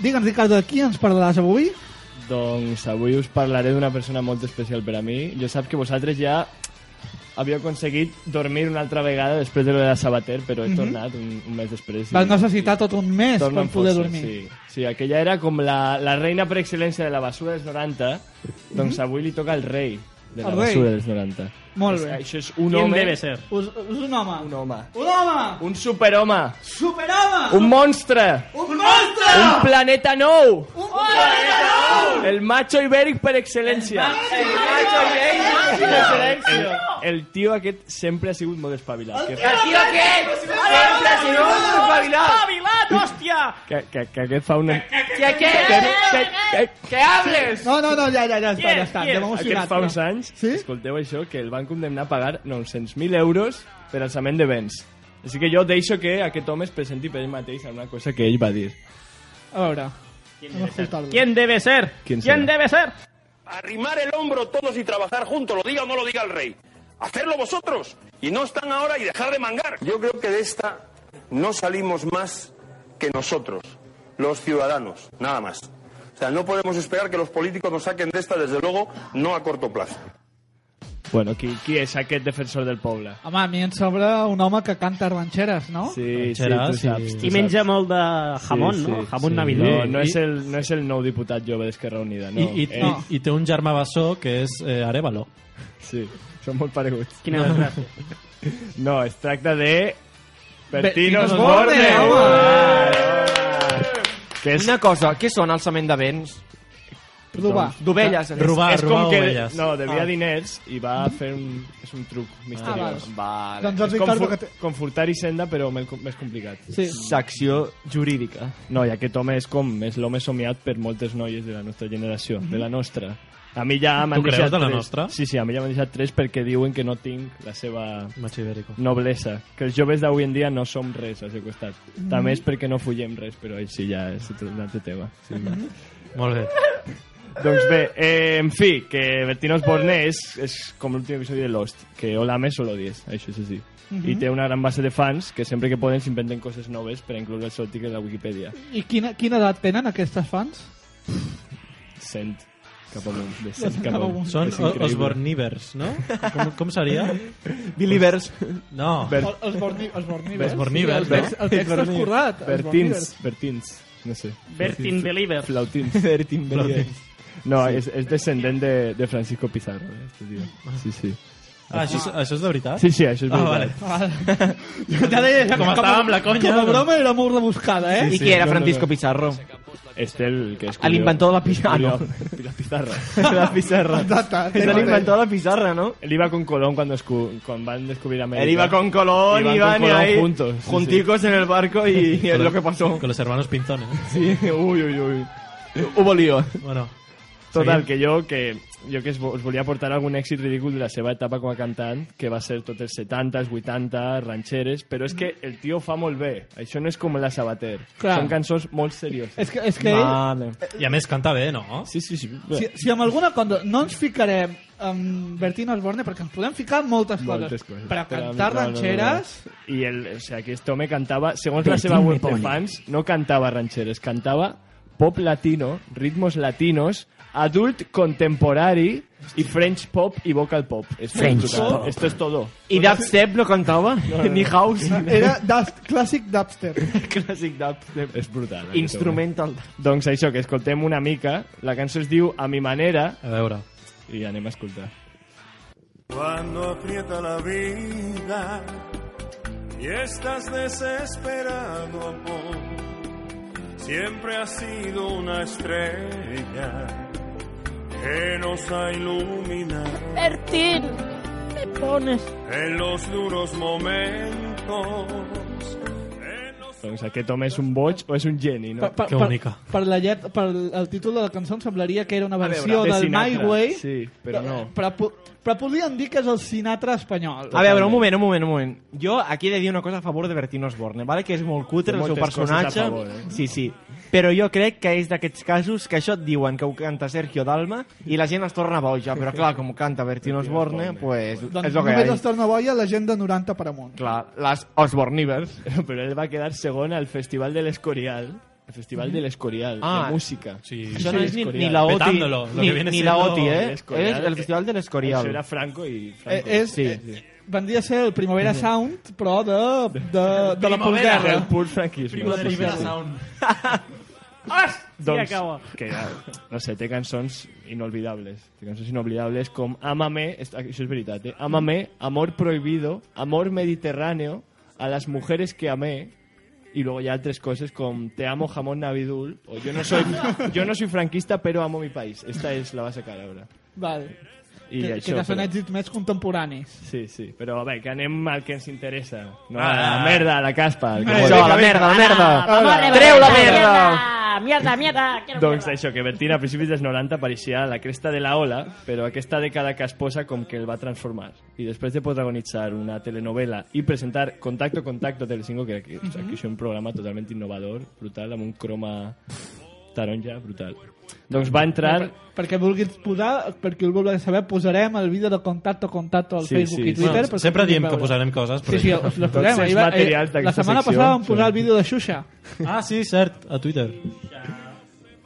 Digue'ns, Ricardo, de qui ens parlaràs avui? Doncs avui us parlaré d'una persona molt especial per a mi. Jo sap que vosaltres ja havia aconseguit dormir una altra vegada després de lo de la Sabater, però he Mhm. tornat un, un mes després. i- Vas necessitar tot un mes Torna per en poder força, dormir. Sí. sí, aquella era com la, la reina per excel·lència de la basura dels 90, doncs avui li toca el rei de la El Mhm. rei. basura dels 90. Molt És- bé. Això és un ¿Quién home... debe ser? Us, us un home. Un home. Un home! Un superhome. Superhome! Un monstre. Un monstre! Un planeta nou. Un planeta nou! El macho ibèric per excel·lència. El macho ibèric per excel·lència. El tio aquest sempre ha sigut molt espavilat. Que, Aquí o què? Sempre si no us espavilat. ¡Espabilat, hòstia! que, que, que aquest fa una... Que què? Que, que, que, Que hables? No, no, no, ja, ja, ja està, Qui és? ja està. Qui Ja és? m'ha Aquest emocionat. fa uns anys, Sí? escolteu això, que el van condemnar a pagar 900.000 euros per alçament de béns. Així que jo deixo que aquest home es presenti per ell mateix en una cosa que ell va dir. A veure. Anem a escoltar-lo. ¿Quién debe ser? ¿Quién será? debe ser? arrimar el hombro todos y trabajar juntos, lo diga o no lo diga el rey. Hacerlo vosotros y no están ahora y dejar de mangar. Yo creo que de esta no salimos más que nosotros, los ciudadanos, nada más. O sea, no podemos esperar que los políticos nos saquen de esta, desde luego, no a corto plazo. Bueno, qui, qui és aquest defensor del poble? Home, a mi em sobra un home que canta ranxeres, no? Sí, sí, Serà, tu sí. saps. tu I menja saps. molt de jamón, Sí, no? sí, Jamón sí. navideño. No, no, és el, no és el nou diputat jove d'Esquerra Unida, no. I, i, Eh, No. i, I té un germà bessó que és eh, Arevalo. Sí, són molt pareguts. Quina desgràcia. No, es tracta de... Bertín Bertino Osborne, Osborne! home! Hola! Que és Una cosa, què són alçament de béns? Provar. doncs, D'ovelles. Robar, és robar com que ovelles. no, devia Ah. diners i va Mm. fer un, és un truc Ah, misteriós. val. Vale. Doncs el és com, Ricardo fu que té... com furtar i senda, però mel- més complicat. Sí. Secció jurídica. No, i aquest home és com és l'home somiat per moltes noies de la nostra generació, de la nostra. A mi ja m'han Mm-hmm. Tu creus deixat de la tres. nostra? Sí, sí, a mi ja m'han deixat tres perquè diuen que no tinc la seva Macho ibérico. noblesa, que els joves d'avui en dia no som res al seu costat. També és perquè no fullem res, però així ja és un altre tema. Sí. Molt bé. Doncs bé, eh, en fi, que Bertino Osborne és, és com l'últim episodi de Lost, que o l'ames o l'odies, això és així. I té una gran base de fans que sempre que poden s'inventen coses noves per incloure el seu article a la Wikipedia. I quina, quina edat tenen aquestes fans? Cent cap amunt, de cent cap Cap amunt. amunt. Són És increïble. Osbornivers, no? Com, com seria? Believers. No. Ber El- Els borni, els bornivers. Els bornivers, Sí, el text, no? el text és currat. els Bertins, Bertins, no sé. Bertin Believer. Flautins. Bertin No, és, és descendent de, de Francisco Pizarro, eh, este tio. Sí, sí. Ah, això, és, això és de veritat? Sí, sí, això és Ah, veritat. vale. Ja deia, ja, Com a- estava amb la conya, Com a no? broma era molt rebuscada, eh? I sí, qui era no, no, Francisco no. Pizarro? Este el que és... El inventor de la pizarra. Julio- La pizarra. La pizarra. Exacte. És l'inventor de la pizarra, no? Él iba con Colón cuando, escu- cuando van a descubrir América. Él iba con Colón, Iban con iban, Colón ahí juntos, sí, junticos en el barco y, y es lo que pasó. Con los hermanos Pintones. Sí, uy, uy, uy. Hubo lío. Bueno. Total, Seguim. que jo que jo que es- us volia portar algun èxit ridícul de la seva etapa com a cantant, que va ser tots els 70s, 80, ranxeres, però és que el tio ho fa molt bé. Això no és com la Sabater. Clar. Són cançons molt serioses. És que, és que ell, Vale. I a més canta bé, no? Sí, sí, sí. si, si amb alguna cosa no ens ficarem amb Bertino Osborne, perquè ens podem ficar en moltes, Moltes coses. coses. Per a cantar Però, no, no, no, no. ranxeres... I el, o sea, aquest home cantava, segons la seva web de fans, no cantava ranxeres, cantava pop latino, ritmos latinos, adult contemporari i French pop i vocal pop. Esto French es brutal. pop. Esto es todo. ¿Y Dubstep no cantaba? Ni House. Era dust, clàssic dubstep. Classic Dubstep. És brutal. aquest home. Instrumental. Doncs això, que escoltem una mica. La cançó es diu A mi manera A veure. i anem a escoltar. Cuando aprieta la vida y estás desesperado, amor, siempre has sido una estrella que nos ha iluminado Bertín, me pones. en los duros momentos. En los Doncs aquest home és un boig o és un geni, no? Per, per, Que bonica. Per, per, la llet, per el títol de la cançó em semblaria que era una versió de del My Sinatra, Way. sí, però no. Però, po- però podríem dir que és el Sinatra espanyol. A veure, un moment, un moment, un moment. Jo aquí he de dir una cosa a favor de Bertino Osborne, vale? que és molt cutre Té el seu moltes coses personatge. a favor, eh? Sí, sí. Però jo crec que és d'aquests casos que això et diuen que ho canta Sergio Dalma i la gent es torna boja, però clar, com ho canta Bertino Osborne, pues, Doncs és el que hi només ha. es torna boia la gent de 90 per amunt. Clar, les Osbornivers. Però ell va quedar segon al Festival de l'Escorial El Festival del Escorial, Ah. de música. Sí. Eso no Sí, es ni, Escorial. ni la OTI, Petándolo, lo ni, que viene ni la siendo OTI, ¿eh? el Escorial. Es el Festival del Escorial. Eso era Franco y Franco. Eh, és, Sí. eh, vendria a ser el Primavera Sound, però de, de, de la postguerra. El pur franquisme. Primavera Sí, sí, sí. Hòstia, acabo. que, ja, no sé, té cançons inolvidables. Té cançons inolvidables com Amame, est- això és veritat, eh? Amame, Amor Prohibido, Amor Mediterráneo, A las mujeres que amé, y luego ya tres cosas como Te amo jamón navidul, o Yo no soy, yo no soy franquista, pero amo mi país. Esta es la base cara ahora. Val. I que, això, que ja són però- èxits més contemporanis. Sí, sí, però bé, que anem al que ens interessa. No, a Ah. la merda, a la caspa. al que Això, vol. Ah, la merda, Ah, la Ah, merda. Treu la merda. Mierda, mierda, quiero Doncs mierda. això, que Bertín a principis dels 90 apareixia a la cresta de la ola, però aquesta dècada que es posa com que el va transformar. I després de protagonitzar una telenovela i presentar Contacto, Contacto, Telecinco, que aquí, Mhm. o sigui, és un programa totalment innovador, brutal, amb un croma taronja brutal. Doncs va entrar... Perquè vulguis posar, perquè ho vulguis saber, posarem el vídeo de contacte contacte al Sí, Facebook sí, i sí. Twitter. Bueno, perquè sempre ho puguin diem que veure. posarem coses, però... Sí, sí, us les posarem. Tots els Ahir va- materials eh, la d'aquesta setmana secció passada vam posar són- el vídeo de Xuxa. Ah, sí, cert, a Twitter.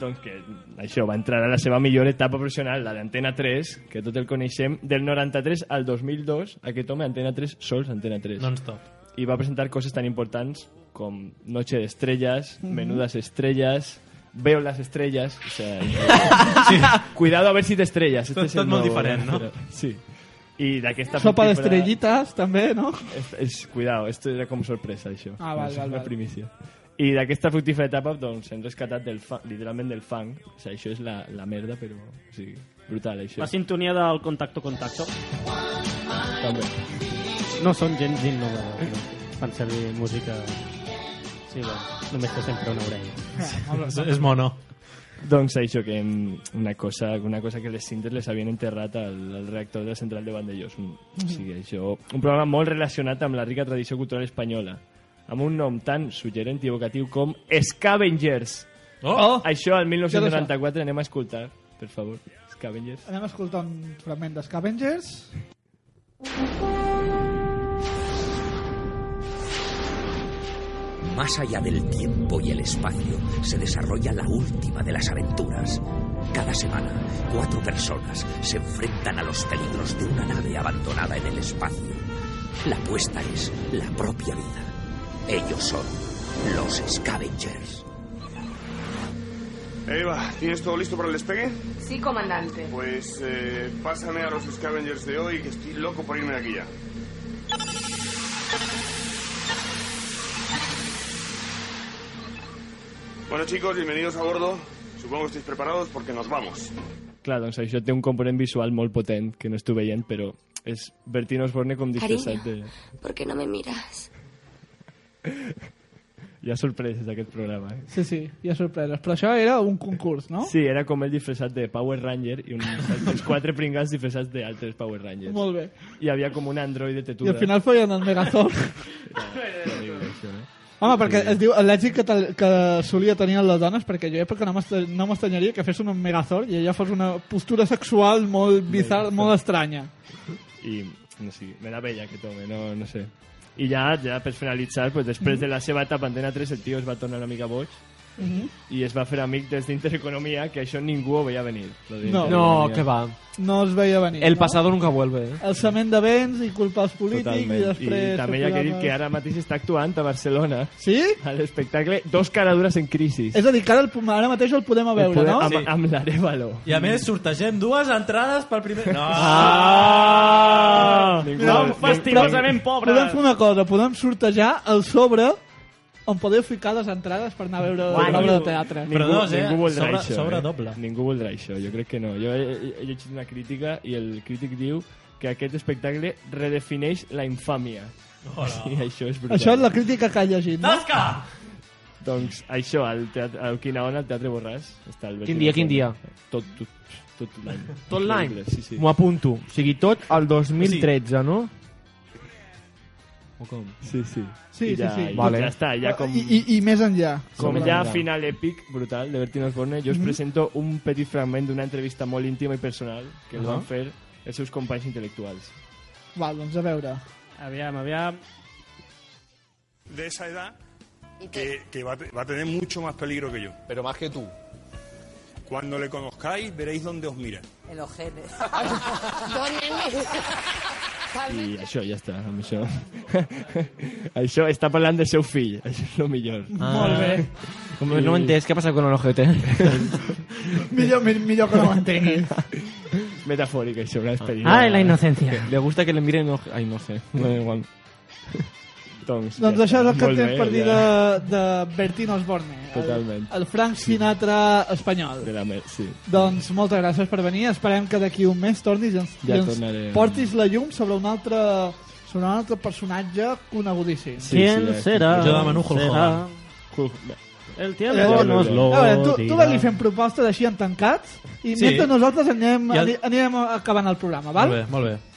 Doncs que això va entrar a la seva millor etapa professional, la d'Antena 3, que tot el coneixem, del 93 al 2002, aquest home Antena 3, sols Antena 3. Non-stop. y va a presentar cosas tan importantes como Noche de Estrellas, Menudas Estrellas, Veo las Estrellas. O sea, cuidado a ver si te estrellas. Este Tot- es el tot molt nuevo, diferent, no? Però- Sí. Y de aquesta Sopa temporada- d'estrellites, també, no? Es, es- cuidado, esto era como sorpresa, això. Ah, val, És val, una val. primícia. I d'aquesta fructífera etapa doncs, hem rescatat del fa, literalment del fang. O sea, això és la, la merda, però... O sigui, brutal, això. La sintonia del contacto contacto. També. No són gens innovadors, no. Fan servir música... Sí, bé, només té sempre una orella. És, és mono. Doncs això, que mm, una cosa, una cosa que les cintes les havien enterrat al, al reactor de la central de Vandellós. Mm. O sigui, això, un programa molt relacionat amb la rica tradició cultural espanyola, amb un nom tan suggerent i evocatiu com Scavengers. Oh! Això al Ja 1994 anem a escoltar, per favor. Scavengers. Anem a escoltar un fragment d'Scavengers. Más allá del tiempo y el espacio se desarrolla la última de las aventuras. Cada semana, cuatro personas se enfrentan a los peligros de una nave abandonada en el espacio. La apuesta es la propia vida. Ellos son los Scavengers. Eva, ¿tienes todo listo para el despegue? Sí, comandante. Pues eh, pásame a los Scavengers de hoy, que estoy loco por irme de aquí ya. Bueno chicos, bienvenidos a bordo. Supongo que estáis preparados porque nos vamos. Clar, doncs això té un component visual molt potent, que no esteu veient, però és Bertín Osborne com disfressat de... Cariño, ¿por qué no me miras? Hi ha sorpreses d'aquest programa, eh? Sí, sí, hi ha sorpreses. Però això era un concurs, no? Sí, era com el disfressat de Power Ranger i uns, uns quatre pringats disfressats d'altres Power Rangers. Molt bé. I hi havia com un androide tetuda. I al final feien el Megazord. Terrible, això, eh? Home, perquè es diu l'èxit que, tal- que solia tenir en les dones, perquè jo perquè no m'estra- no m'estranyaria que fes un Megazord i allò fos una postura sexual molt bizarra, molt estranya. I, no sé, me la veia que tome, no, no sé. I ja, ja per finalitzar, pues, després de la seva etapa a Antena 3, el tio es va tornar una mica boig i es va fer amic des d'Intereconomia, que això ningú ho veia venir. lo de No. No, Intereconomia. que va. No es veia venir, El no? pasado nunca vuelve, eh. El cement de béns i culpar els polítics Totalment. i després... I també hi ha que dir que ara mateix està actuant a Barcelona, Sí? a l'espectacle Dos caradures en crisi. És a dir, que ara, el, po- ara mateix el podem a veure, Podem- no? amb, amb l'Arevalo. I a més, sortegem dues entrades pel primer... No! Ah! Ningú, Mira, ningú- Fastigosament pobre. Podem fer una cosa, podem sortejar el sobre on podeu ficar les entrades per anar a veure l'obra de teatre. Però ningú- dos, eh? Ningú voldrà Sobre- això, sobre eh? doble. Ningú voldrà això, jo crec que no. Jo he, he- he llegit una crítica i el crític diu que aquest espectacle redefineix la infàmia. I això és brutal. Això és la crítica que ha llegit, no? Tasca! Doncs això, al, teatre, al Quinaona, al Teatre Borràs. Està el Quin dia, quin dia? Tot, tot, tot l'any. Tot l'any? Sí, sí. M'ho apunto. O sigui, tot el 2013, no? O com? Sí, sí. Sí, I ja, sí, sí. I Vale. vale. ja està, ja com... I, i, I més enllà. Com Sobre ja la- final èpic, brutal, de Bertín Osborne, Mm-hmm. jo us presento un petit fragment d'una entrevista molt íntima i personal que el van fer els seus companys intel·lectuals. Val, doncs a veure. Aviam, aviam. De esa edad que, que va, a te- va a tener mucho más peligro que yo. Pero más que tú. Cuando le conozcáis, veréis dónde os mira. El ojete. I això, ja està, amb això. això està parlant del seu fill, això és el millor. Ah. Molt bé. Com no ho he entès, què ha passat amb l'ojete? millor, mi- millor que no ho entenguis. Metafòric, això, una experiència. Ah, Ai, la innocència. Le gusta que le miren... oj- Ai, no sé. No, igual. doncs, Doncs ja això és està. el que Molt tens bé, per dir ja. de, de Bertín Osborne. el- Totalment. El Frank Sinatra espanyol. De la mer, sí. Doncs moltes gràcies per venir. Esperem que d'aquí un mes tornis i ens, Ja i ens tornaré. portis la llum sobre un altre, sobre un altre personatge conegudíssim. Sí, ¿Quién sí, ja. será? Jo demano Hulk Será. Hogan. El tiempo Eh, nos a lo veure, tu, tu dirá. vagi fent propostes així en tancats i Sí. mentre nosaltres anem, Ja- ani- anirem acabant el programa, val? Molt bé, molt bé.